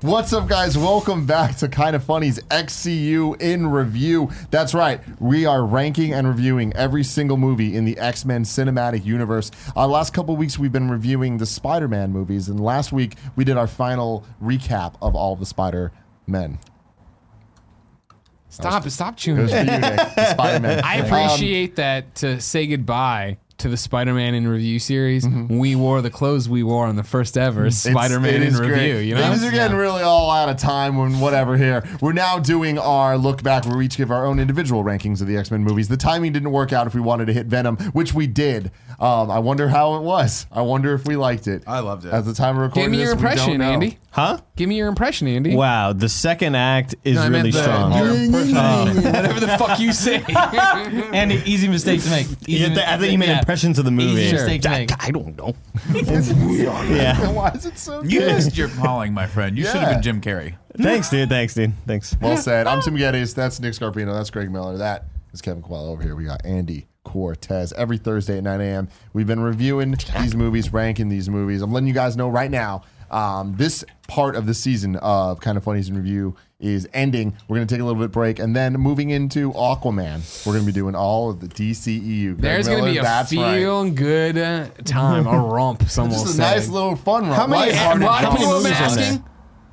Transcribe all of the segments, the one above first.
What's up, guys? Welcome back to Kind of Funny's XCU in Review. That's right, we are ranking and reviewing every single movie in the X Men cinematic universe. Uh, last couple weeks, we've been reviewing the Spider Man movies, and last week, we did our final recap of all of the Spider Men. Stop, stop It tuning. was for you, Nick, the Spider Man. I appreciate that to say goodbye to the Spider-Man in Review series. Mm-hmm. We wore the clothes we wore on the first ever Spider-Man in Review. You know, Things are getting really all out of time when whatever here. We're now doing our look back where we each give our own individual rankings of the X Men movies. The timing didn't work out if we wanted to hit Venom, which we did. Um, I wonder how it was. I wonder if we liked it. I loved it. At the time of recording, Give me your this, we don't impression, know. Andy. Huh? Give me your impression, Andy. Wow, the second act is No, I meant really the- strong. your impression. Whatever the fuck you say. And an easy mistake to make. Yeah, th- I think you meant yeah. impressions of the movie. Easy mistake to make. I don't know. yeah. Why is it so? You good? missed your calling, my friend. You should have Yeah. been Jim Carrey. Thanks, dude. Thanks, dude. Thanks. Well said. I'm Tim Geddes. That's Nick Scarpino. That's Greg Miller. That is Kevin Quell over here. We got Andy Cortez every Thursday at 9 a.m. We've been reviewing these movies, ranking these movies. I'm letting you guys know right now. Um, this part of the season of Kind of Funnies in Review is ending. We're going to take a little bit break and then moving into Aquaman. We're going to be doing all of the DCEU. Greg There's gonna be Miller, a that's right. feeling good uh, time, a romp. Some will Just a say. nice little fun run. How many- Yeah, a Lighthearted lot of romp. people have been movies on asking.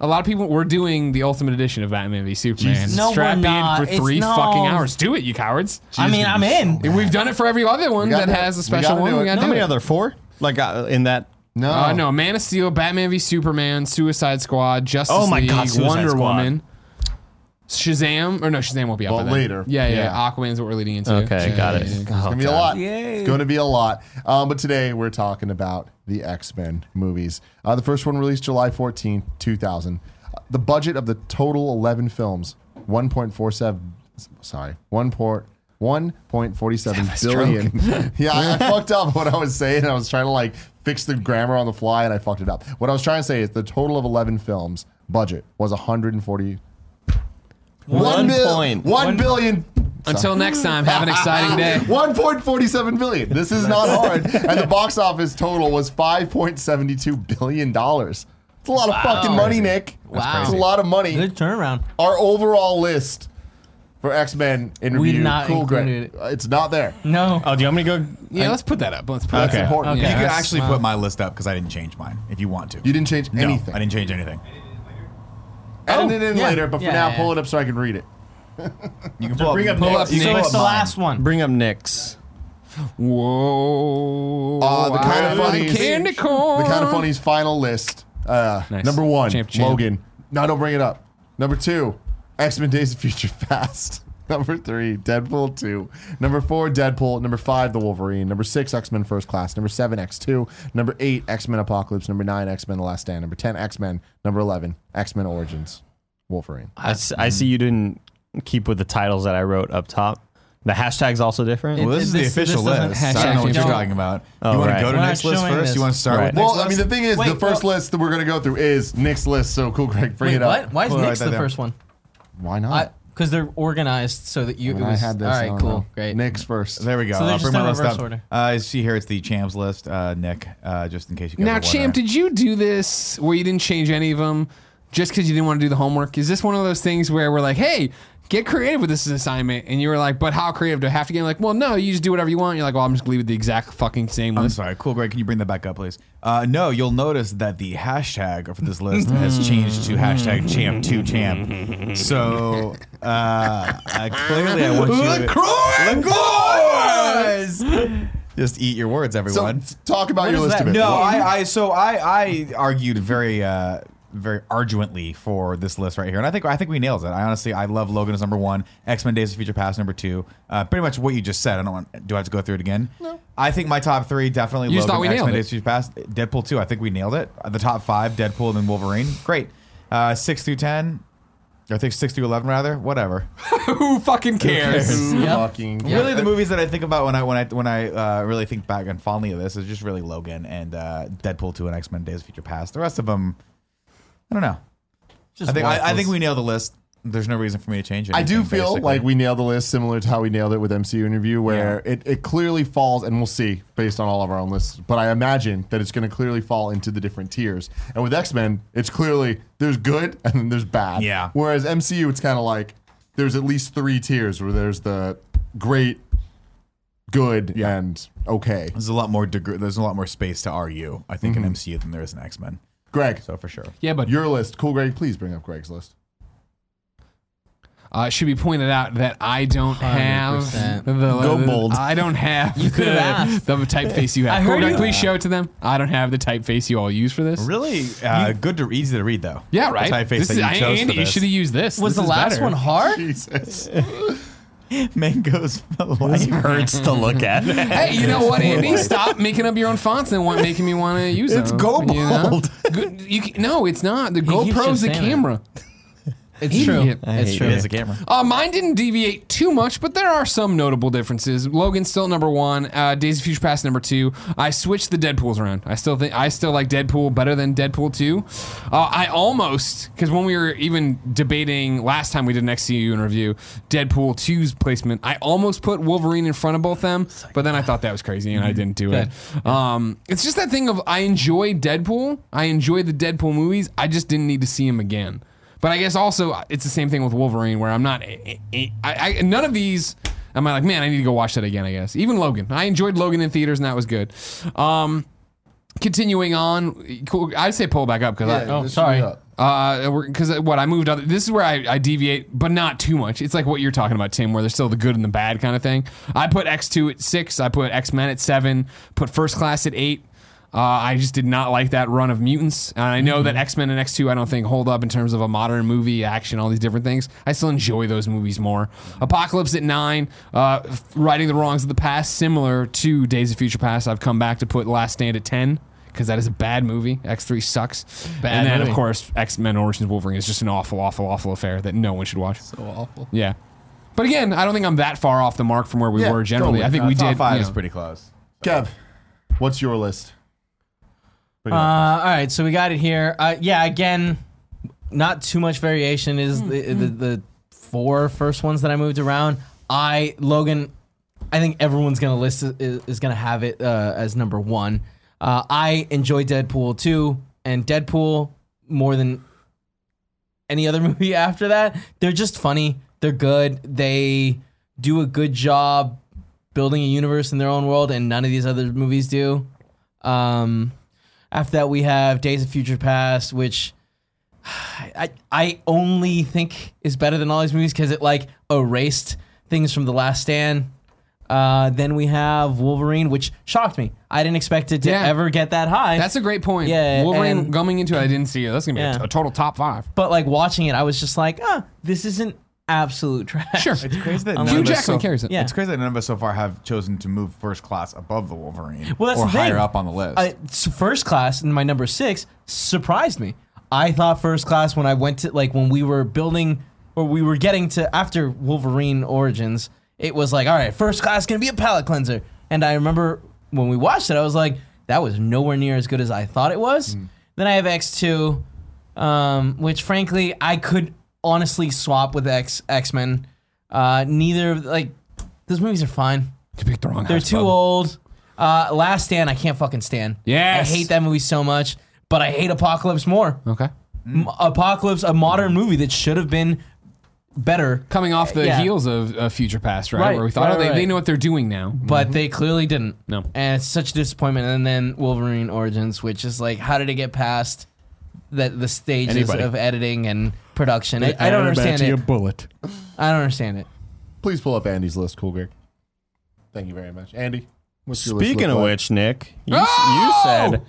A lot of people. We're doing the ultimate edition of that movie, Superman. Jesus. No, we're Strap not. in for It's three no- fucking hours. Do it, you cowards. I mean, I'm in. We've done it for every other one gotta that do it. has a We special gotta one. do We it. gotta How do many it. other four? Like uh, in that? No. Uh, no, Man of Steel, Batman v Superman, Suicide Squad, Justice Oh my League, God, Suicide Wonder Squad. Woman, Shazam, or no, Shazam won't be up Well, by then. later. Yeah, yeah, Yeah. Aquaman's what we're leading into. Yeah, yeah, yeah. It's gonna be a lot. It's gonna be a lot. Um, but today we're talking about the X Men movies. Uh, the first one released July 14th, 2000. Uh, The budget of the total 11 films, 1.47. Sorry, one port. 1.47 billion. yeah, I, I fucked up what I was saying. I was trying to like fix the grammar on the fly and I fucked it up. What I was trying to say is the total of 11 films budget was 140 One mil- point. 1 billion Until next time, have an exciting day. 1.47 billion. This is not hard. And the box office total was 5.72 billion dollars. It's a lot of fucking money, Nick. Wow. It's a lot of money. Good turnaround. Our overall list for X-Men in We review. not cool, Greg. included Uh, It's not there. No. Oh, do you want me to go? Yeah, let's put that up. Let's put That's that up. important. Okay. you Yeah, can that's- actually put my list up because I didn't change mine. If you want to, You didn't change no, anything. I didn't change anything. Edit Oh, it in yeah. later, but for Yeah, now, yeah. pull it up so I can read it. You can pull, bring up, up pull Nick. up You So can pull it's up the mine. last one. Bring up Nick's. Whoa. Uh, the kind of I like funnies- Candy corn. The kind of funny's final list. Uh, Nice. Number one, Champ, champ. Logan. No, don't bring it up. Number two, X Men Days of Future Past. Number three, Deadpool 2. Number four, Deadpool. Number five, The Wolverine. Number six, X Men First Class. Number seven, X2. Number eight, X Men Apocalypse. Number nine, X Men The Last Stand. Number 10, X Men. Number 11, X Men Origins. Wolverine. I, s- I see you didn't keep with the titles that I wrote up top. The hashtag's also different. Well, this It- is the this- official this doesn't list. I don't know what hashtag you're it. talking about. Oh, you want right. to go to We're not next list showing first? this. You want to start Right. with next Well, I mean, list? the thing is, Wait, the first well- list that we're going to go through is Nick's list. So cool, Greg. Bring Wait, it up. what? Why is Pull it Nick's right the there. first one? Why not? I Because they're organized so that you. I, It mean, I was, had this. All I right, don't cool. know. Great. Nick's first. there we go. So they're I'll just bring my in list reverse up. order. Uh, see here, it's the champs list. Uh, Nick, uh, just in case you. guys Now, were Champ, wondering. did you do this where you didn't change any of them just because you didn't want to do the homework? Is this one of those things where we're like, hey, get creative with this assignment? And you were like, but how creative do I have to get? like, well, no, you just do whatever you want. You're like, well, I'm just going to leave it the exact fucking same I'm list. sorry. Cool, Greg. Can you bring that back up, please? Uh, no, you'll notice that the hashtag for this list has changed to hashtag champ2champ. So uh, uh, clearly, I want you to. LaCroix! Just eat your words, So everyone. t- talk about your is list that? a bit. No, I, I so I I argued very uh very arduently for this list right here, and I think I think we nailed it. I honestly I love Logan as number one, X Men Days of Future Past number two. Uh, pretty much what you just said. I don't want do I have to go through it again? No. I think my top three definitely You just thought we Logan, X Men nailed it. Days of Future Past, Deadpool two. I think we nailed it. Uh, The top five: Deadpool and then Wolverine. Great. Uh, six through ten, or I think six through eleven rather. Whatever. Who fucking cares? Who Yep. fucking Really, the movies that I think about when I when I when I uh, really think back and fondly of this is just really Logan and uh, Deadpool two and X Men Days of Future Past. The rest of them, I don't know. Just I think I, I waffles. think we nailed the list. there's no reason for me to change it. I do feel like we nailed the list similar to how we nailed it with MCU interview, where it, it clearly falls, and we'll see based on all of our own lists. But I imagine that it's going to clearly fall into the different tiers. And with X Men, it's clearly there's good and then there's bad. Yeah. Whereas MCU, it's kind of like there's at least three tiers where there's the great, good, and okay. there's a lot more degre- there's a lot more space to argue. I think in MCU than there is in X Men. Greg, So for sure. Yeah, but your list, cool. Greg, please bring up Greg's list. uh, it should be pointed out that I don't have 100%. the Go bold. I don't have could've the, asked. the typeface you have. I heard Could I you- please show it to them. I don't have the typeface you all use for this. Really uh, good to easy to read though. Yeah, The right. typeface this that is, you I- chose for Andy, you this. should have used this. Was This the is last better. one hard? Jesus. mangoes for life. hurts to look at. Hey, you know what, Andy? Stop making up your own fonts and want, making me want to use them. It's Go you know? Bold. Good- you can- no, it's not. The keeps GoPro's just the saying it. camera. It's true. Idiot. I It's hate true. it. a camera. Uh, mine didn't deviate too much, but there are some notable differences. Logan's still number one. Uh, Days of Future Past number two. I switched the Deadpool's around. I still think I still like Deadpool better than Deadpool two. Uh, I almost because when we were even debating last time we did an XCU interview, Deadpool 2's placement. I almost put Wolverine in front of both them, but then I thought that was crazy Mm-hmm. and I didn't do it. Um, it's just that thing of I enjoy Deadpool. I enjoy the Deadpool movies. I just didn't need to see him again. But I guess also it's the same thing with Wolverine, where I'm not. I, I, I- none of these. am I like, man, I need to go watch that again. I guess even Logan. I enjoyed Logan in theaters, and that was good. Um, continuing on, cool. I'd say pull back up because I, oh, sorry. Uh, because what I moved other. This is where I, I deviate, but not too much. It's like what you're talking about, Tim, where there's still the good and the bad kind of thing. I put X two at six. I put X Men at seven. Put First Class at eight. Uh, I just did not like that run of mutants, and I know that X Men and X two I don't think hold up in terms of a modern movie, action, all these different things. I still enjoy those movies more. Apocalypse at nine, uh, f- righting the wrongs of the past, similar to Days of Future Past. I've come back to put Last Stand at ten because that is a bad movie. X three sucks, Bad and then of movie. course course, X Men Origins Wolverine is just an awful, awful, awful affair that no one should watch. So awful. Yeah. But again, I don't think I'm that far off the mark from where we Yeah, were generally. totally. I think we Uh, top did. five you is know. pretty close. Kev, what's your list? Bring it up. Uh, all right, so we got it here. Uh, yeah, again, not too much variation. Is the, the the four first ones that I moved around? I Logan, I think everyone's gonna list is, is gonna have it uh, as number one. Uh, I enjoy Deadpool two and Deadpool more than any other movie after that. They're just funny. They're good. They do a good job building a universe in their own world, and none of these other movies do. Um, after that, we have Days of Future Past, which I I only think is better than all these movies because it like erased things from The Last Stand. Uh, then we have Wolverine, which shocked me. I didn't expect it to Yeah. ever get that high. That's a great point. Yeah, Wolverine and- coming into it, I didn't see it. That's gonna be a Yeah. t- a total top five. but like watching it, I was just like, ah, this isn't absolute trash. Sure. It's crazy that Um, Hugh none of us Jackman so- carries it. Yeah. It's crazy that none of us so far have chosen to move first class above the Wolverine Well, that's or the thing. higher up on the list. I, s- first class and my number six surprised me. I thought first class when I went to like when we were building or we were getting to after Wolverine Origins, it was like, all right, first class gonna be a palate cleanser. And I remember when we watched it, I was like, that was nowhere near as good as I thought it was. Hmm. Then I have X two, um, which frankly I could honestly swap with X X Men. Uh, neither like those movies are fine. You picked the wrong They're house, too bub. old. Uh, Last Stand, I can't fucking stand. Yes. I hate that movie so much, but I hate Apocalypse more. Okay. M- Mm. Apocalypse, a modern movie that should have been better, Coming off the Yeah. heels of uh, Future Past, right? Right, Where we thought, right, oh, they, right. they know what they're doing now. but they clearly didn't. Mm-hmm. No. And it's such a disappointment. And then Wolverine Origins, which is like, how did it get past the, the stages Anybody. of editing and production? I, I don't understand it. bullet. I don't understand it. Please pull up Andy's list, Cool Greg. Thank you very much, Andy. What's your list Speaking look of like? which, Nick, you, Oh! you said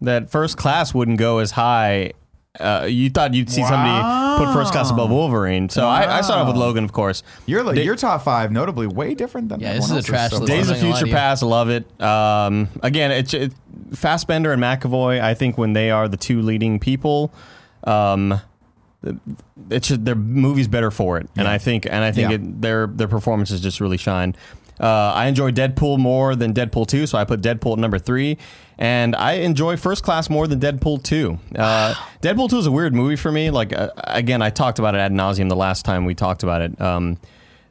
that first class wouldn't go as high. Uh, you thought you'd see somebody put first class above Wolverine. So I, I started off with Logan, of course. your, li- Da- your top five, notably, way different than Yeah, everyone this is a else's trash so list. far. I'm Days not of gonna lie Future to you. Past, love it. Um, again, it's it, Fassbender and McAvoy. I think when they are the two leading people, um, it's just, their movies better for it, and I think and I think Yeah. it, their their performances just really shine. Uh, I enjoy Deadpool more than Deadpool 2, so I put Deadpool at number three. And I enjoy First Class more than Deadpool 2. Uh, Deadpool 2 is a weird movie for me. Like, uh, again, I talked about it ad nauseum the last time we talked about it. Um,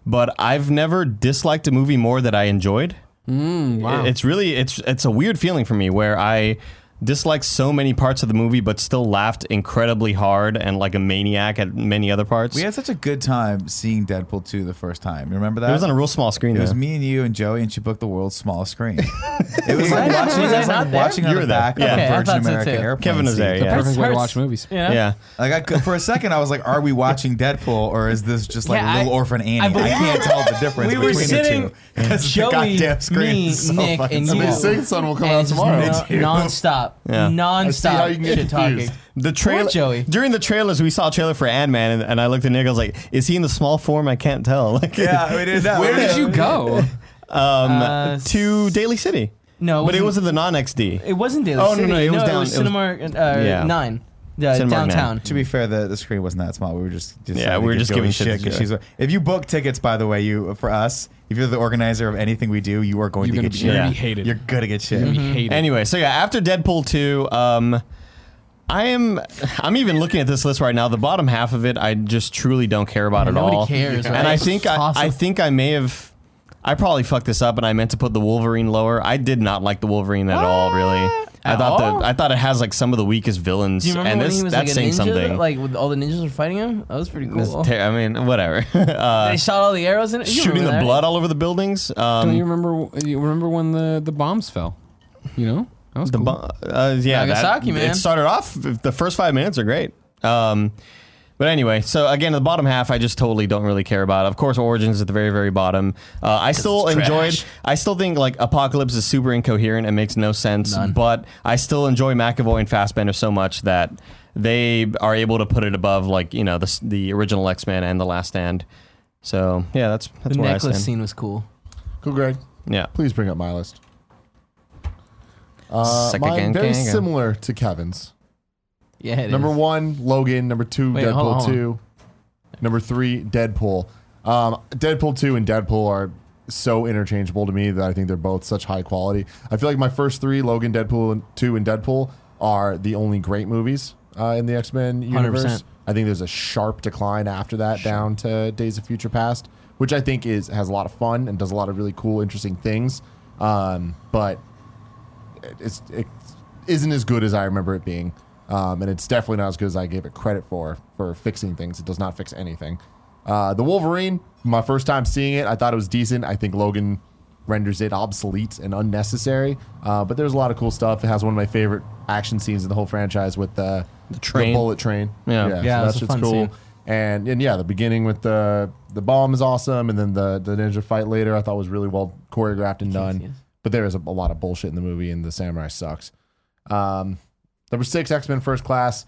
but I've never disliked a movie more that I enjoyed. It- It's really it's it's a weird feeling for me where I dislike so many parts of the movie but still laughed incredibly hard and like a maniac at many other parts. We had such a good time seeing Deadpool 2 the first time. You remember that? it was on a real small screen It was though. me and you and Joey, and she booked the world's smallest screen. it was I like not- watching, was it I was not like there? watching You on were the there. back Yeah. of Okay, a I Virgin thought so America too. airplane. Kevin was seat. there, The yeah. Perfect way to hurts. watch movies. You know? Yeah. Like I could, for a second, I was like, "Are we watching Deadpool or is this just like Yeah, Little I- Orphan Annie?" I I, believe- can't tell the difference We were between sitting- the two. 'Cause Joey, the goddamn screen me, is so Nick, fucking and So you. the small. Sing Son will come And out it's just tomorrow. no- nonstop, Yeah. I see how you can nonstop get shit talking. confused. The trailer Joey. during the trailers we saw a trailer for Ant Man and, and I looked at Nick I was like, is he in the small form? I can't tell. Like Yeah, it is. Where did you go? um Uh, to Daily City. No, but it wasn't- was in the non XD. It wasn't Daily Oh, no, City. no, it was down- it was- Cinema uh, Yeah. Nine, uh, Cinemark Nine. downtown. To be fair, the, the screen wasn't that small. We were just, just Yeah, we were just giving shit to because Joey. she's. If you book tickets, by the way, you for us, if you're the organizer of anything we do, you are going You're gonna to get be, shit. you're gonna be Yeah. hated. You're gonna get shit. You're gonna be hated. Anyway, so yeah, after Deadpool 2, um, I am I'm even looking at this list right now. The bottom half of it, I just truly don't care about at nobody all. cares, And right? I think I, Toss I it. think I may have I probably fucked this up and I meant to put the Wolverine lower. I did not like the Wolverine at all, really. I At thought all? the I thought it has like some of the weakest villains Do you remember and when this he was that's like saying a ninja? something. Like with all the ninjas were fighting him. That was pretty That's cool. ter- I mean, whatever. uh, they shot all the arrows in it. You shooting remember the that, blood all over the buildings. Um, Don't you remember? You remember when the, the bombs fell? You know that was The cool. bo- uh, yeah, Nagasaki, man. It started off. The first five minutes are great. Um, but anyway, so again, the bottom half, I just totally don't really care about. Of course, Origins at the very, very bottom. Uh, I still it's enjoyed. trash. I still think like Apocalypse is super incoherent and makes no sense. But I still enjoy McAvoy and Fassbender so much that they are able to put it above like you know the s- the original X Men and the Last Stand. So yeah, that's that's The where I necklace stand. scene was cool. Cool, Greg. Yeah. Please bring up my list. Uh, Suck mine again, very gang. similar to Kevin's. Yeah, it Number is. one, Logan. Number two, Wait, Deadpool hold on, hold on. two. Number three, Deadpool. Um, Deadpool two and Deadpool are so interchangeable to me that I think they're both such high quality. I feel like my first three, Logan, Deadpool and two, and Deadpool, are the only great movies uh, in the X Men universe. 100%. I think there's a sharp decline after that down to Days of Future Past, which I think is has a lot of fun and does a lot of really cool, interesting things. Um, but it's it isn't as good as I remember it being, um, and it's definitely not as good as I gave it credit for for fixing things. It does not fix anything. Uh, the Wolverine, my first time seeing it, I thought it was decent. I think Logan renders it obsolete and unnecessary, uh, but there's a lot of cool stuff. It has one of my favorite action scenes in the whole franchise with the, the train. bullet train. Yeah. yeah, so Yeah, it that was a shit's fun cool. scene. And, and yeah, the beginning with the the bomb is awesome, and then the the ninja fight later I thought was really well choreographed and done. yes. But there is a, a lot of bullshit in the movie, and the samurai sucks. Um, number six, X Men First Class.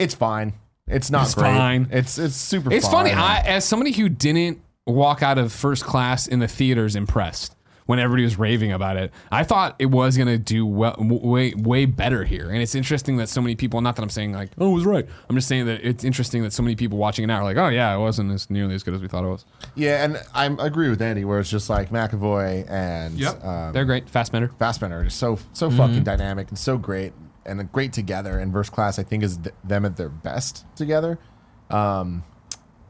It's fine. It's not It's great. fine. It's it's super. It's fine. funny. I, as somebody who didn't walk out of first class in the theaters impressed when everybody was raving about it, I thought it was going to do well, w- way way better here. And it's interesting that so many people. Not that I'm saying like, oh, it was right. I'm just saying that it's interesting that so many people watching it now are like, oh yeah, it wasn't as nearly as good as we thought it was. yeah, and I agree with Andy where it's just like McAvoy and um, they're great. Fastbender. Fassbender are just so so Mm-hmm. fucking dynamic and so great and great together. And First Class, I think, is th- them at their best together. But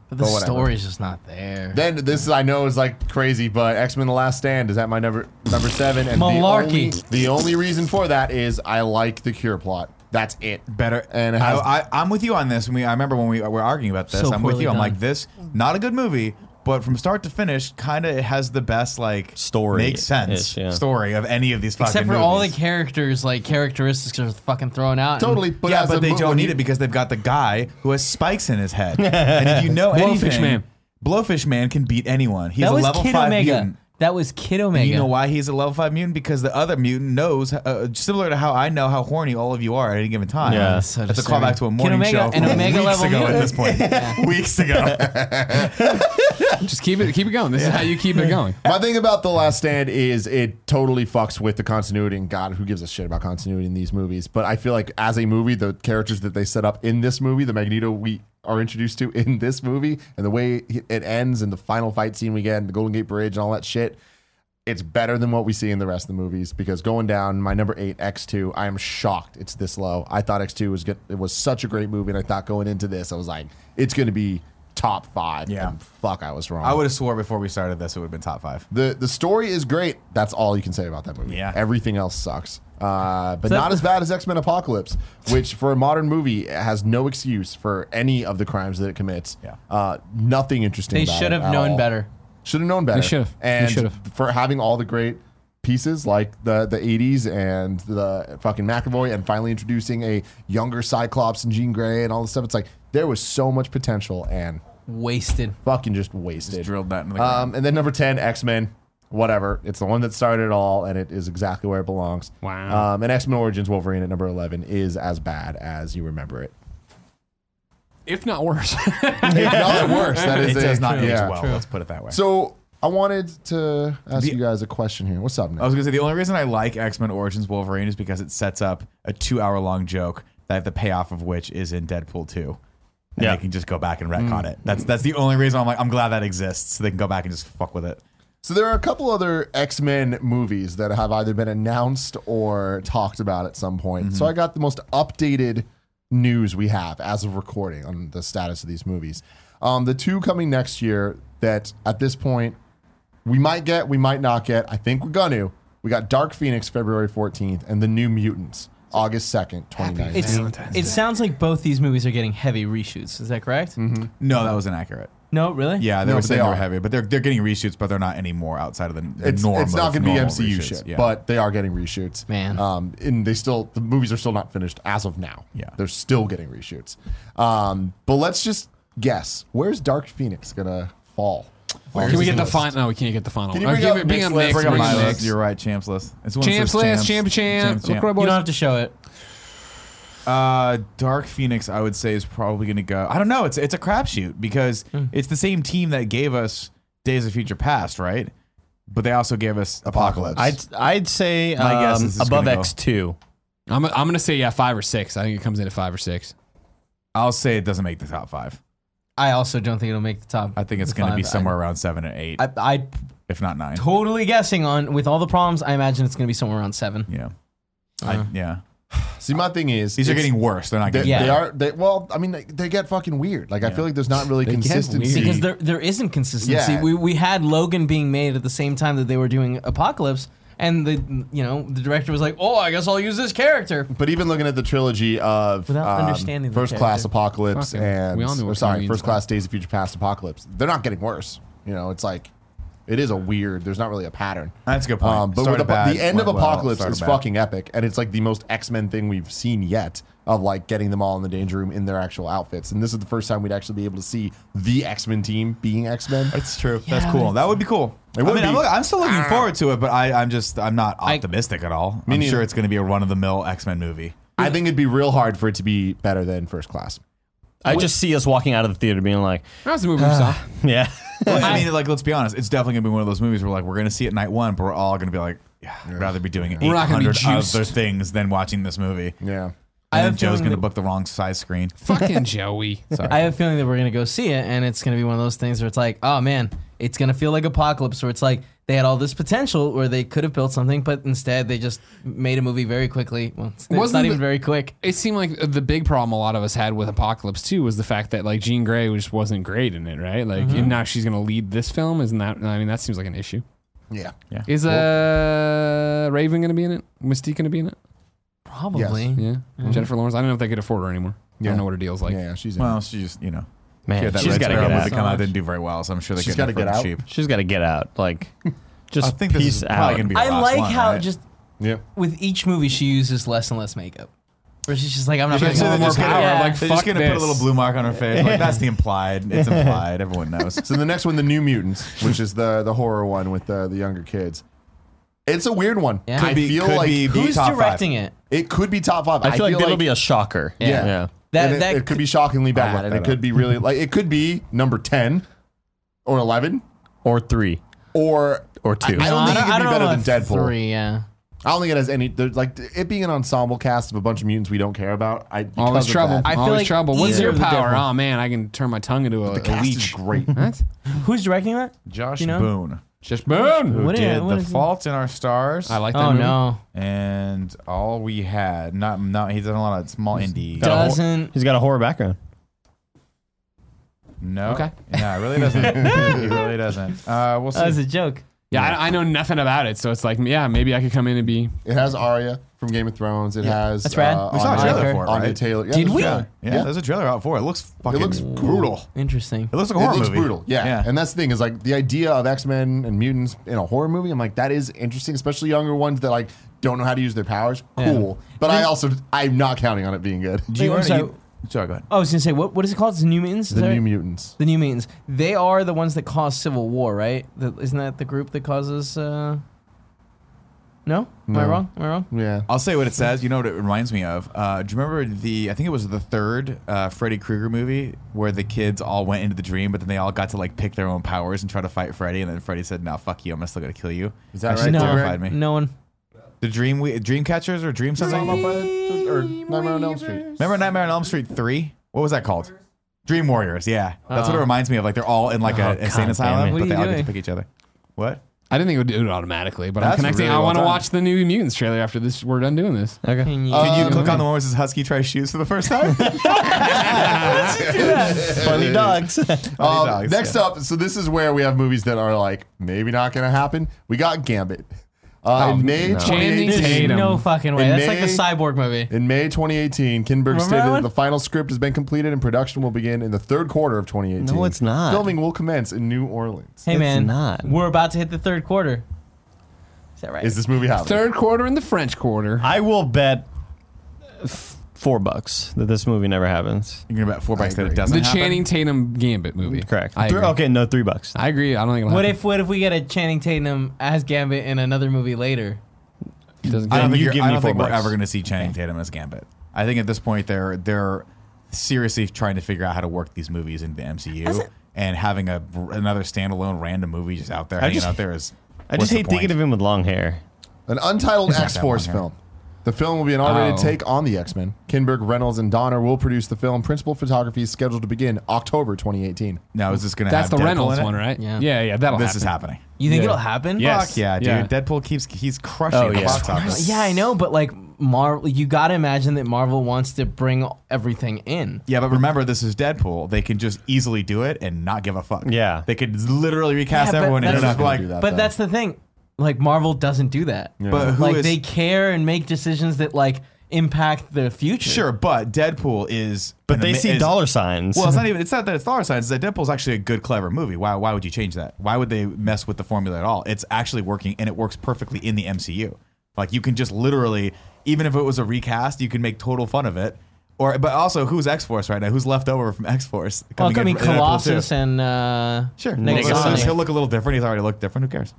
the But whatever. story's just not there. Then this is, I know is like crazy, but X Men: The Last Stand is at my number number seven, and Malarkey. The, only, the only reason for that is I like the Cure plot. That's it. better. And it has- I, I, I'm with you on this. And we, I remember when we were arguing about this. So I'm with poorly you. I'm done. like this, not a good movie, but from start to finish, kind of has the best like Story makes sense ish, yeah. story of any of these fucking Except for movies. all the characters, like characteristics are fucking thrown out. and- Totally, but yeah, as but a they mo- don't when you- need it because they've got the guy who has spikes in his head. and if you know anything, Blowfish Man. Blowfish Man can beat anyone. He's that a was level Kid five Omega. mutant. That was Kid Omega. And You know why he's a level five mutant? Because the other mutant knows, uh, similar to how I know how horny all of you are at any given time. Yeah. that's, So a disturbing. callback to a Kid morning Omega show and from Omega weeks level ago at mutant. this point. Weeks ago. Just keep it keep it going. This is how you keep it going. My thing about The Last Stand is it totally fucks with the continuity, and God, who gives a shit about continuity in these movies? But I feel like as a movie, the characters that they set up in this movie, the Magneto we are introduced to in this movie, and the way it ends, and the final fight scene we get, and the Golden Gate Bridge, and all that shit, It's better than what we see in the rest of the movies because going down my number eight X2, I am shocked it's this low. I thought X2 was good. It was such a great movie, and I thought going into this, I was like, it's going to be top five. Yeah. and fuck, I was wrong. I would have swore before we started this, it would have been top five. The the story is great. That's all you can say about that movie. Yeah. Everything else sucks. Uh, but So- not as bad as X Men Apocalypse, which for a modern movie has no excuse for any of the crimes that it commits. Yeah. Uh, nothing interesting. They about should it have at known all. better. Should have known better. should have. They And should have. for having all the great pieces like the the 80s and the fucking McAvoy and finally introducing a younger Cyclops and Jean Grey and all this stuff. It's like there was so much potential and Wasted. fucking just wasted. Drilled that into the ground. Um, and then number 10, X Men. Whatever. It's the one that started it all, and it is exactly where it belongs. Wow. Um, and X Men Origins Wolverine at number 11 is as bad as you remember it. if not worse. Not worse. That is it does not age yeah. well. Let's put it that way. So I wanted to ask The- you guys a question here. What's up, I Nick? was gonna say the only reason I like X Men Origins Wolverine is because it sets up a two hour long joke that the payoff of which is in Deadpool two. And Yeah. they can just go back and retcon it. That's that's the only reason I'm like I'm glad that exists. So they can go back and just fuck with it. So there are a couple other X Men movies that have either been announced or talked about at some point. So I got the most updated news we have as of recording on the status of these movies. Um, the two coming next year that at this point we might get, we might not get. I think we're gonna. We got Dark Phoenix February 14th and The New Mutants August 2nd, 2019. It's, Valentine's it Day. sounds like both these movies are getting heavy reshoots. Is that correct? No, that was inaccurate. No, really? Yeah, they No, were but saying they they were are. heavy, but they're they're getting reshoots, but they're not anymore outside of the, the it's, norm. it's not of going to be normal MCU reshoots. shit, Yeah. but they are getting reshoots. Man. um, and they still the movies are still not finished as of now. Yeah. they're still getting reshoots. Um, but let's just guess where's Dark Phoenix gonna fall? Can we Where's get the list? final? No, we can't get the final. Can you Or bring give up it- bring Nick's up list? Nick's, Bring Bring up bring my up list. Nick's. You're right, champs list. It's the one that Champs says list, champ, champ. Champ, champ. LaCroix You boys. don't have to show it. Uh, Dark Phoenix, I would say, is probably going to go. I don't know. It's it's a crapshoot because it's the same team that gave us Days of Future Past, right? But they also gave us Apocalypse. Apocalypse. I'd I'd say My guess um, is it's above gonna go- X two. I'm, I'm gonna say yeah, five or six. I think it comes in at five or six. I'll say it doesn't make the top five. I also don't think it'll make the top. I think it's the going to be five. somewhere around seven or eight, I, I if not nine. totally guessing on with all the problems. I imagine it's going to be somewhere around seven. Yeah, I, yeah. See, my thing is These are it's- getting worse. They're not They, getting. Yeah. they are. They, well, I mean, they, they get fucking weird. Like, I feel like there's not really get consistency. weird. Because there, there isn't consistency. Yeah. We, we had Logan being made at the same time that they were doing Apocalypse, and the you know the director was like, "Oh, I guess I'll use this character." But even looking at the trilogy of Without um, understanding the First Class character. Apocalypse Fucking- and we all knew or what sorry, Halloween's First Class Days of Future Past Apocalypse, they're not getting worse. You know, it's like it is a weird. There's not really a pattern. That's a good point. Um, but Started with Apo- bad, the end of went well, Apocalypse started is bad. fucking epic, and it's like the most X Men thing we've seen yet of like getting them all in the danger room in their actual outfits. And this is the first time we'd actually be able to see the X Men team being X Men. It's true. that's cool. That would be cool. It would I mean, I'm, be. look- I'm still looking forward to it, but I, I'm just I'm not optimistic at all. I'm neither. sure it's going to be a run of the mill X Men movie. I think it'd be real hard for it to be better than First Class. I just see us walking out of the theater being like, That was the movie we saw. yeah, Well, I mean, like, let's be honest. It's definitely gonna be one of those movies where, like, we're gonna see it night one, but we're all gonna be like, yeah, I'd rather be doing eight We're not gonna be hundred other juiced. things than watching this movie. And Yeah. I have then a Joe's feeling gonna that- book the wrong size screen. Fucking Joey. I have a feeling that we're gonna go see it, and it's gonna be one of those things where it's like, oh man, it's gonna feel like Apocalypse, where it's like they had all this potential where they could have built something, but instead they just made a movie very quickly. Well, it's, it's Wasn't not the- even very quick. It seemed like the big problem a lot of us had with Apocalypse too was the fact that like Jean Grey just wasn't great in it, right? Like, and now she's gonna lead this film. Isn't that? I mean, that seems like an issue. Yeah. Is uh Raven gonna be in it? Mystique gonna be in it? Probably. Yeah. Jennifer Lawrence. I don't know if they could afford her anymore. I Yeah. don't know what her deal's like. Yeah, she's in. Well, she just, you know, she man, had that she's Red got to Sparrow get movie out. come out, didn't do very well, so I'm sure they She's got gotta to get out. Cheap. She's got to get out. Like, I just think this peace is out. probably gonna be. Her I last like one, how right? just yeah. with each movie she uses less and less makeup. Where she's just like, I'm not They're putting just on more just power. gonna- Yeah. like, They're fuck just gonna put a this. little blue mark on her face. Like that's the implied. It's implied. Everyone knows. So the next one, the New Mutants, which is the the horror one with the the younger kids. It's a weird one. Yeah. Could I be- feel could like be- be Who's top five. directing it? it could be top five. I feel like it'll be a shocker. Yeah. yeah. That and it, that it could be shockingly bad, look and it that could up. be really like it could be number ten or eleven or three or or two. I- I don't think it could be know better than about Deadpool. Three, yeah. I don't think it has any. There's like it being an ensemble cast of a bunch of mutants we don't care about. I because Always of trouble. that, I feel Always like trouble. What's either your of the power? different- Oh man, I can turn my tongue into a, the a cast is leech. great. What? Who's directing that? Josh You know? Boone. Just boom. who What i- did what The is it? Fault in Our Stars. I like that. Oh movie. no, And all we had, not not he's done a lot of small indie. Got a hor- doesn't He's got a horror background. No. Okay. No, it really doesn't. he really doesn't. Uh, we'll see. that was a joke. Yeah, I, I know nothing about it, so it's like, yeah, maybe I could come in and be. It has Arya from Game of Thrones. It has That's rad. Uh, We saw a Anya- trailer for it, Anya right? Taylor. Yeah, Did there's a we? trailer. yeah, there's a trailer out for it. It looks fucking. looks brutal. Interesting. It looks like a It horror looks movie. brutal. Yeah. And that's the thing is like the idea of X Men and mutants in a horror movie. I'm like, that is interesting, especially younger ones that like don't know how to use their powers. Cool. But I also I'm not counting on it being good. Do you Wait, I'm want sorry. Oh, to? Sorry, go ahead. I was gonna say what what is it called? It's the New Mutants. Is The that New right? Mutants. The New Mutants. They are the ones that caused civil war, right? The, isn't that the group that causes? Uh... No? Am I No. wrong? Am I wrong? Yeah. I'll say what it says. You know what it reminds me of? Uh, do you remember the? I think it was the third uh, Freddy Krueger movie where the kids all went into the dream, but then they all got to like pick their own powers and try to fight Freddy, and then Freddy said, "No, fuck you. I'm still gonna kill you." Is that shit right, Greg? terrified me. No one. The dream, we, dream catchers or dream something? Or Nightmare on Elm Street. Remember Nightmare on Elm Street three? What was that called? Dream Warriors. Yeah, that's what it Oh. reminds me of. Like they're all in like an God insane damn asylum, it. but What are they you all get to doing? pick each other. What? I didn't think it would do it automatically, but I'm That's connecting. really I well want to done. watch the new Mutants trailer after this. We're done doing this. Okay. Can you, Did you click on the one where it says Husky tries shoes for the first time? Funny dogs. Um, dogs, next yeah. up, so this is where we have movies that are like maybe not going to happen. We got Gambit. Uh, in May no. Channing 2018, Tatum. No fucking way. In That's like the May- cyborg movie. In May 2018, Kinberg stated that that one? the final script has been completed and production will begin in the third quarter of 2018. No, it's not. Filming will commence in New Orleans. Hey It's man, not. we're about to hit the third quarter. Is that right? Is this movie happening? Third quarter in the French quarter. I will bet f- four bucks that this movie never happens. You're gonna bet four bucks that it agree. doesn't. the happen? Channing Tatum Gambit movie. Correct. I Three- agree. okay, no, three bucks. I agree. I don't think. It'll what happen. if what if we get a Channing Tatum as Gambit in another movie later? It doesn't I Then don't think, you you're- give I me don't think four we're bucks. ever going to see Channing Tatum as Gambit. I think at this point they're they're seriously trying to figure out how to work these movies into the MCU, and having a another standalone random movie just out there hanging just- out there is. I what's just the hate point? thinking of him with long hair. An untitled not that X Force long, yeah. film. The film will be an R-rated Oh. take on the X-Men. Kinberg, Reynolds, and Donner will produce the film. Principal photography is scheduled to begin October 2018. Now is this going to That's have the Deadpool Reynolds in it? one, right? Yeah. Yeah, yeah. That'll This happen. is happening. You think Yeah. it'll happen? Yes. Fuck yeah, dude! Yeah. Deadpool keeps he's crushing Oh, the yeah. box office. Yeah, I know, but like Marvel, you gotta imagine that Marvel wants to bring everything in. Yeah, but remember, this is Deadpool. They can just easily do it and not give a fuck. Yeah. they could literally recast Yeah, but everyone and that's- just be like, They're not gonna do that, But though. that's the thing, like Marvel doesn't do that. but who like is- they care and make decisions that like impact the future. Sure, but Deadpool is. But they see dollar. dollar signs. Well, it's not even. It's not that it's dollar signs. It's that Deadpool's actually a good, clever movie. Why? Why would you change that? Why would they mess with the formula at all? It's actually working, and it works perfectly in the MCU. Like you can just literally, even if it was a recast, you can make total fun of it. Or, but also, who's X Force right now? Who's left over from X Force? Well, I mean, Colossus and uh, Sure, Negasonic. Well, he'll look a little different. He's already looked different. Who cares?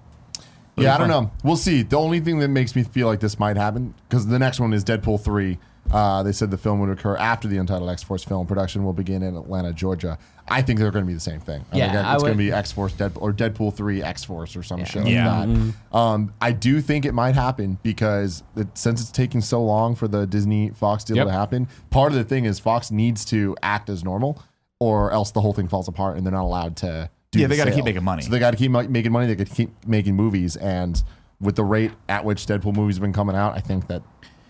It'll yeah, be I don't fun. know. We'll see. The only thing that makes me feel like this might happen because the next one is Deadpool three. Uh, they said the film would occur after the Untitled X Force film. Production will begin in Atlanta, Georgia. I think they're going to be the same thing. I Yeah, think I it's going would- to be X Force Deadpool or Deadpool three X Force or some Yeah. shit Yeah. like that. Um, I do think it might happen because it, since it's taking so long for the Disney Fox deal Yep. to happen, part of the thing is Fox needs to act as normal, or else the whole thing falls apart and they're not allowed to. do Yeah, the they gotta sale. keep making money. So they got to keep mi- making money. They could keep making movies, and with the rate at which Deadpool movies have been coming out, I think that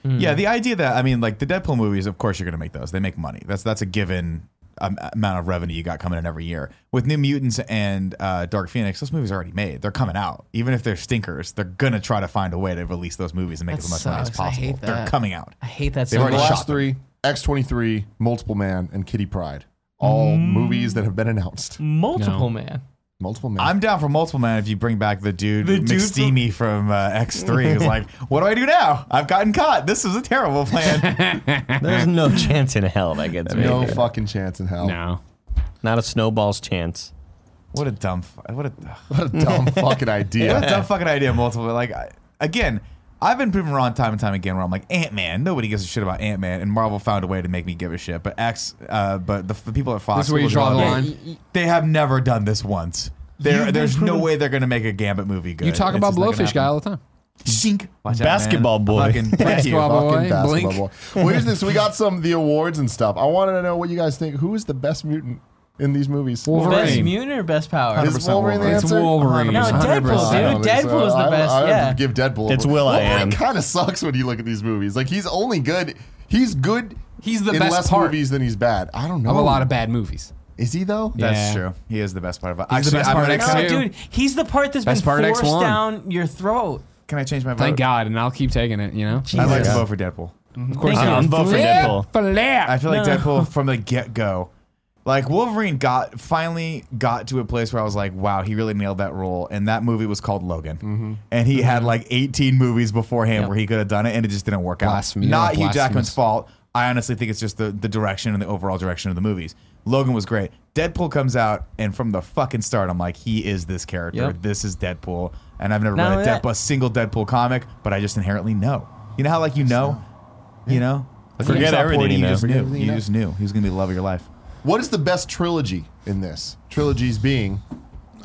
Hmm. Yeah, the idea that I mean, like the Deadpool movies, of course you're going to make those. They make money. That's that's a given um, amount of revenue you got coming in every year. With New Mutants and uh, Dark Phoenix, those movies are already made. They're coming out. Even if they're stinkers, they're gonna try to find a way to release those movies and make That as much money as sucks. I possible. hate They're that. coming out. I hate that. They've so the already much. shot last three, X twenty three, Multiple Man, and Kitty Pride, all Mm. movies that have been announced. multiple No. man. Multiple Man. I'm down for multiple man if you bring back the dude The dude from- McSteamy from, uh, X3 who's like, "What do I do now? I've gotten caught. This is a terrible plan." There's no chance in hell that gets made. no fucking chance in hell. No. Not a snowball's chance. what a dumb fu- what a What a dumb fucking Yeah, idea. that's a dumb fucking idea. Multiple, like I, again, I've been proven wrong time and time again. Where I'm like Ant Man, nobody gives a shit about Ant Man, and Marvel found a way to make me give a shit. But X, uh, but the, the people at Fox, This is where you people at draw the Marvel, They have never done this once. There, You've been there's no proven- way they're gonna make a Gambit movie good. You talk It's about just not gonna Blowfish guy happen. all the time. Zink. Watch out, Basketball man. boy. Fucking prick you. Basketball Fucking boy, basketball blink. boy. Well, here's this. We got some of the awards and stuff. I wanted to know what you guys think. Who is the best mutant in these mutant movies? Best Wolverine. mutant or best power? Is Wolverine the Wolverine. It's answer? Wolverine. No, 100%. Deadpool, I dude. don't think so. Deadpool is the I- best. I would yeah. give Deadpool. It's Will.i.am. Kind of sucks when you look at these movies. Like he's only good. He's good. He's the in best less part. movies than he's bad. I don't know. Of a lot of bad movies. Is he though? That's Yeah. true. He is the best part of it. He's the best I'm part of gonna- X no, two. dude, he's the part that's Best been part of forced X1. down your throat. Can I change my vote? Thank God, and I'll keep taking it. You know, I'd like to Yeah. vote for Deadpool. of course. Thank you. I'm voting for Deadpool. I feel like No. Deadpool from the get go. Like Wolverine got finally got to a place where I was like, wow, he really nailed that role. And that movie was called Logan. And he Mm-hmm. had like 18 movies beforehand Yep. where he could have done it and it just didn't work Blasphemy. out. Not Yeah, Hugh blasphemous. Jackman's fault. I honestly think it's just the, the direction and the overall direction of the movies. Logan was great. Deadpool comes out and from the fucking start, I'm like, he is this character. Yep. This is Deadpool. And I've never Not read only a, that- Deadpool, a single Deadpool comic, but I just inherently know. You know how like you know, you know. Like, Forget you saw everything Porty, you know. just Forget knew. everything You you know. just knew he was gonna be the love of your life. What is the best trilogy in this? Trilogies being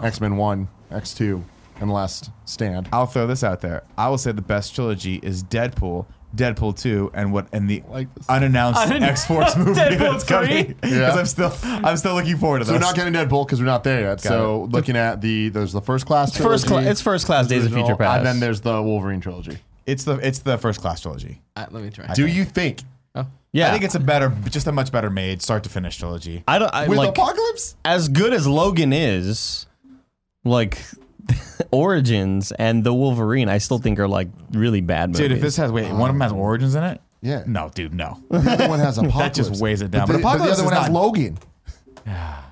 X Men One, X Two, and Last Stand. I'll throw this out there. I will say the best trilogy is Deadpool, Deadpool Two, and what and the like this. unannounced X Unannounced Force movie Deadpool that's coming. 3? Because Yeah. I'm still I'm still looking forward to So we're this. not getting Deadpool because we're not there yet. so looking at the there's the first class trilogy. First cla- it's first class Days of original, Future Past. And then there's the Wolverine trilogy. it's the it's the first class trilogy. Uh, let me try. Do you think yeah, I think it's a better, just a much better made start to finish trilogy. I don't I, with like Apocalypse? as good as Logan is, like Origins and the Wolverine, I still think are like really bad movies. Dude, if this has wait, one of them has origins in it. Um, Yeah. No, dude, no. The other one has That Apocalypse. just weighs it down. But, the, but the Apocalypse other one is has not- Logan.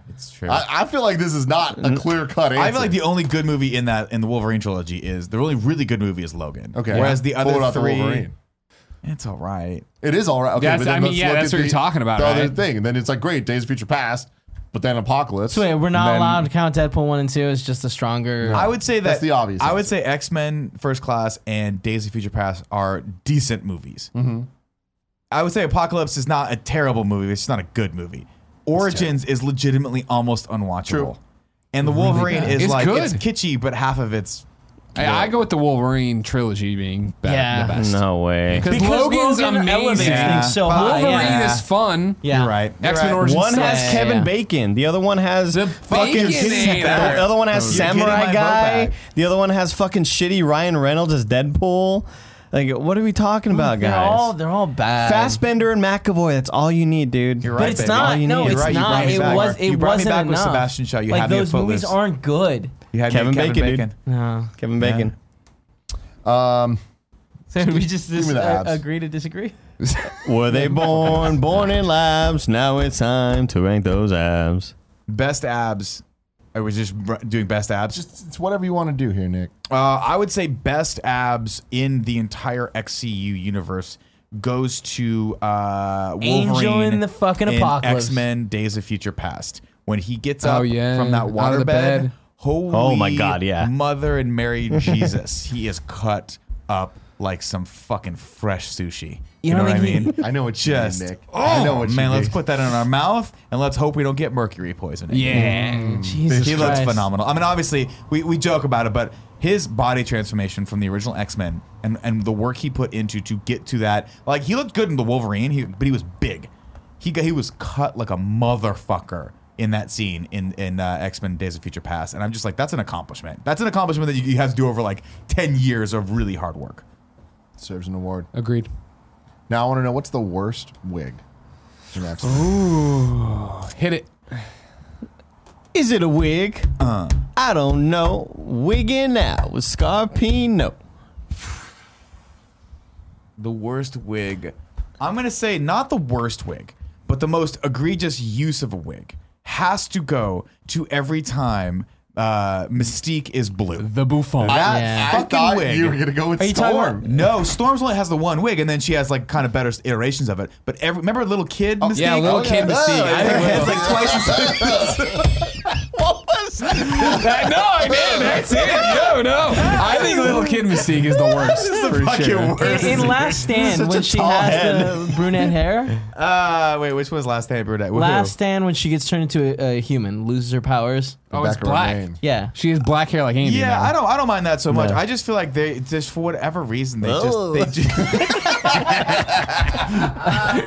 It's true. I, I feel like this is not a clear cut answer. I feel like the only good movie in that in the Wolverine trilogy is the only really good movie is Logan. okay. Whereas the What about other the three, Wolverine? it's all right. it is all right. Okay, That's- but then I mean, let's yeah, look that's at what you're the- talking about, The other right? thing, then it's like great Days of Future Past, but then Apocalypse. So wait, we're not and then- allowed to count Deadpool one and two as just a stronger. I would say that That's the obvious I would say X Men, First Class, and Days of Future Past are decent movies. Mm-hmm. I would say Apocalypse is not a terrible movie. It's just not a good movie. Origins is legitimately almost unwatchable. True. And the Wolverine is It's like good. it's kitschy, but half of it's I, I go with the Wolverine trilogy being better, Yeah. the best. no way. Because Because Logan's Logan elevates amazing. Yeah. things so high. Wolverine yeah. is fun. yeah. you're right. You're X-Men right. Origins One sucks. has Yeah, Kevin yeah. Bacon. The other one has The fucking. Baconator. The other one has You're getting my Samurai vote Guy. back. The other one has fucking shitty Ryan Reynolds as Deadpool. Like, what are we talking about, They're all guys? they're all bad. Fastbender and McAvoy. That's all you need, dude. You're right, but it's baby. not. All you No, need. it's You're right, you brought not. me It back. was. It You brought me wasn't back with enough. Sebastian Shaw. You like had me at those movies Footloose. aren't good. You had me at Kevin Kevin Bacon, dude. Bacon. No. Kevin Bacon. Um, So we just, me the abs. agree to disagree. Were they born, born in labs? Now it's time to rank those abs. Best abs. I was just r- doing best abs. Just, just it's whatever you want to do here, Nick. uh, I would say best abs in the entire XCU universe goes to uh, Wolverine Angel in the fucking apocalypse. X Men Days of Future Past when he gets Oh, up yeah. from Out that of water the bed. bed. Holy Oh, my God, yeah. Mother and Mary Jesus, he is cut up like some fucking fresh sushi. You, You know don't what I think he- mean? I know what you mean, Just Nick. oh I know what you man, let's mean. put that in our mouth and let's hope we don't get mercury poisoning. Yeah. Jesus He looks Christ. phenomenal. I mean, obviously, we, we joke about it, but his body transformation from the original X Men and, and the work he put into to get to that, like he looked good in the Wolverine, he, but he was big. He got, he was cut like a motherfucker in that scene in in uh, X Men Days of Future Past, and I'm just like, that's an accomplishment. That's an accomplishment that you, you have to do over like ten years of really hard work. Serves an award. Agreed. Now I want to know what's the worst wig. in X-Men? Hit it. Is it a wig? I don't know. Wigging out with Scarpino. the worst wig. I'm gonna say not the worst wig, but the most egregious use of a wig has to go to every time uh, Mystique is blue. The Buffon. That- Yeah. I Fucking thought wig. you were gonna go with Are you talking Storm. about- No, Storm's only has the one wig, and then she has like kind of better iterations of it. But every remember little kid Mystique? yeah, little kid Her Mystique. head's like twice as What was worst. That- no, I did. That's it. No, no. I think Little Kid Mystique is the worst. for sure. In, in Last Stand, Such when a she tall has the brunette hair. Uh, wait, which was last day, Brunette? With who? Last Stand, when she gets turned into a, a human, loses her powers. Oh, it's Back of her black. name. Yeah. She has black hair like Andy. Yeah, now. I don't. I don't mind that so much. No. I just feel like they just for whatever reason they Oh. just they just,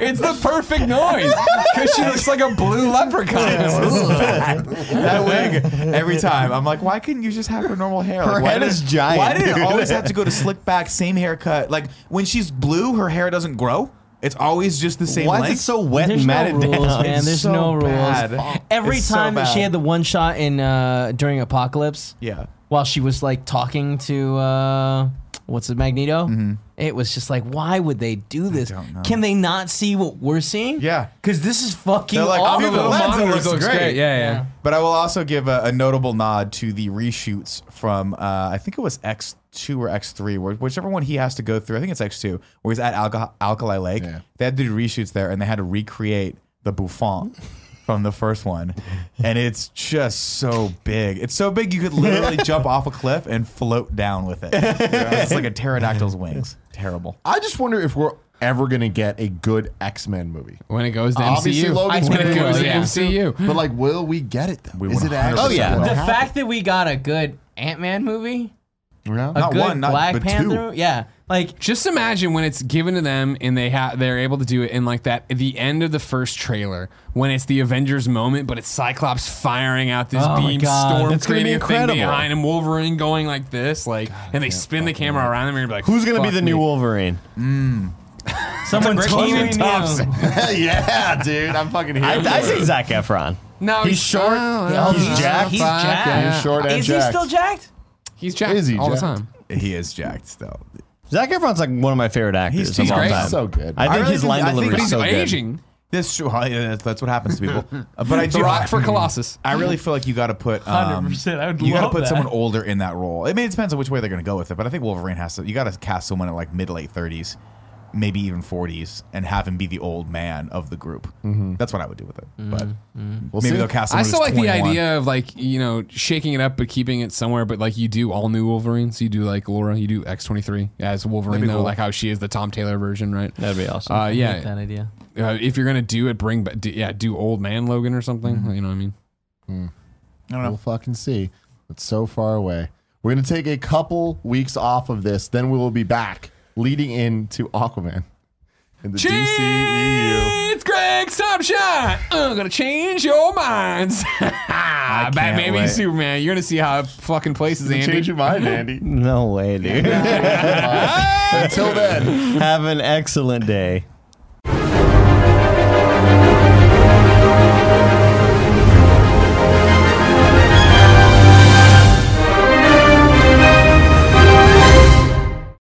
It's the perfect noise because she looks like a blue leprechaun. that wig every time. I'm like, why couldn't you just have her normal hair? Like, Her why head did- is giant, Why did it dude. always have to go to slick back, same haircut? Like when she's blue, her hair doesn't grow. It's always just the same. Why is length. it so wet There's and no matted rules, down? man. There's so no rules. bad. Every It's so time bad. she had the one shot in uh, during Apocalypse. Yeah. While she was like talking to uh, what's it, Magneto? It was just like, why would they do this? Mm-hmm. don't know. Can they not see what we're seeing? Yeah. Because this is fucking They're like, awful. "Through the lens, it monitor looks great." Yeah, yeah. But I will also give a, a notable nod to the reshoots from uh, I think it was X two or X three, whichever one he has to go through. I think it's X two, where he's at Alka- Alkali Lake. Yeah. They had to do reshoots there, and they had to recreate the Buffon from the first one, and it's just so big. It's so big you could literally jump off a cliff and float down with it. It's like a pterodactyl's wings. Terrible. I just wonder if we're ever gonna get a good X Men movie. When it goes to Obviously, MCU, Logan's when gonna it do goes it. to Yeah. MCU. But like, will we get it though? We Is it 100% actually? Oh, yeah. gonna the happen? fact that we got a good Ant Man movie, Yeah. a Not good one, not- Black but two. Panther, yeah, like Just imagine when it's given to them and they ha- they're able to do it in like that at the end of the first trailer when it's the Avengers moment, but it's Cyclops firing out this Oh my beam, God. storm That's gonna be creating a thing incredible. behind him, Wolverine going like this, like, and they spin the camera around him and you're like, Who's gonna be "Fuck the me." new Wolverine? someone Kenan totally knew. Thompson. yeah, dude. I'm fucking here. I, for I it. say Zach Efron. No, He's short, he's jacked. Oh, He's Fuck, jacked. yeah. He's short and Is he jacked. still jacked? He's jacked Is he all jacked? the time. He is jacked though. Zach Efron's like one of my favorite actors. He's- of he's all great. time. So good. I I think really his think- line I think- delivery but is He's so good. aging. That's true. Oh, yeah, That's, that's what happens to people. Uh, But I do The Rock for Colossus. I really feel like you got to put um, 100%, I would you gotta love put that. someone older in that role. I mean, it depends on which way they're going to go with it, but I think Wolverine has to. You got to cast someone at like mid to late thirties, maybe even forties, and have him be the old man of the group. That's what I would do with it. But Mm-hmm. We'll maybe see. they'll cast. Someone Mm-hmm. I still who's like the 21. idea of like you know shaking it up but keeping it somewhere. But like you do all new Wolverine, so you do like Laura, you do X twenty three as Wolverine That'd be though, cool. like how she is the Tom Taylor version, right? That'd be awesome. Uh, I like that yeah, idea. uh, if you're gonna do it, bring ba- do, yeah, do old man Logan or something. Mm-hmm. You know what I mean? I don't We'll know. fucking see. It's so far away. We're gonna take a couple weeks off of this, then we will be back, leading into Aquaman in the E E DCEU. It's Greg Snapshot. I'm gonna change your minds. can't Batman v wait. Superman. You're gonna see how it fucking places Andy. Change your mind, Andy. no way, dude. Until then. Have an excellent day.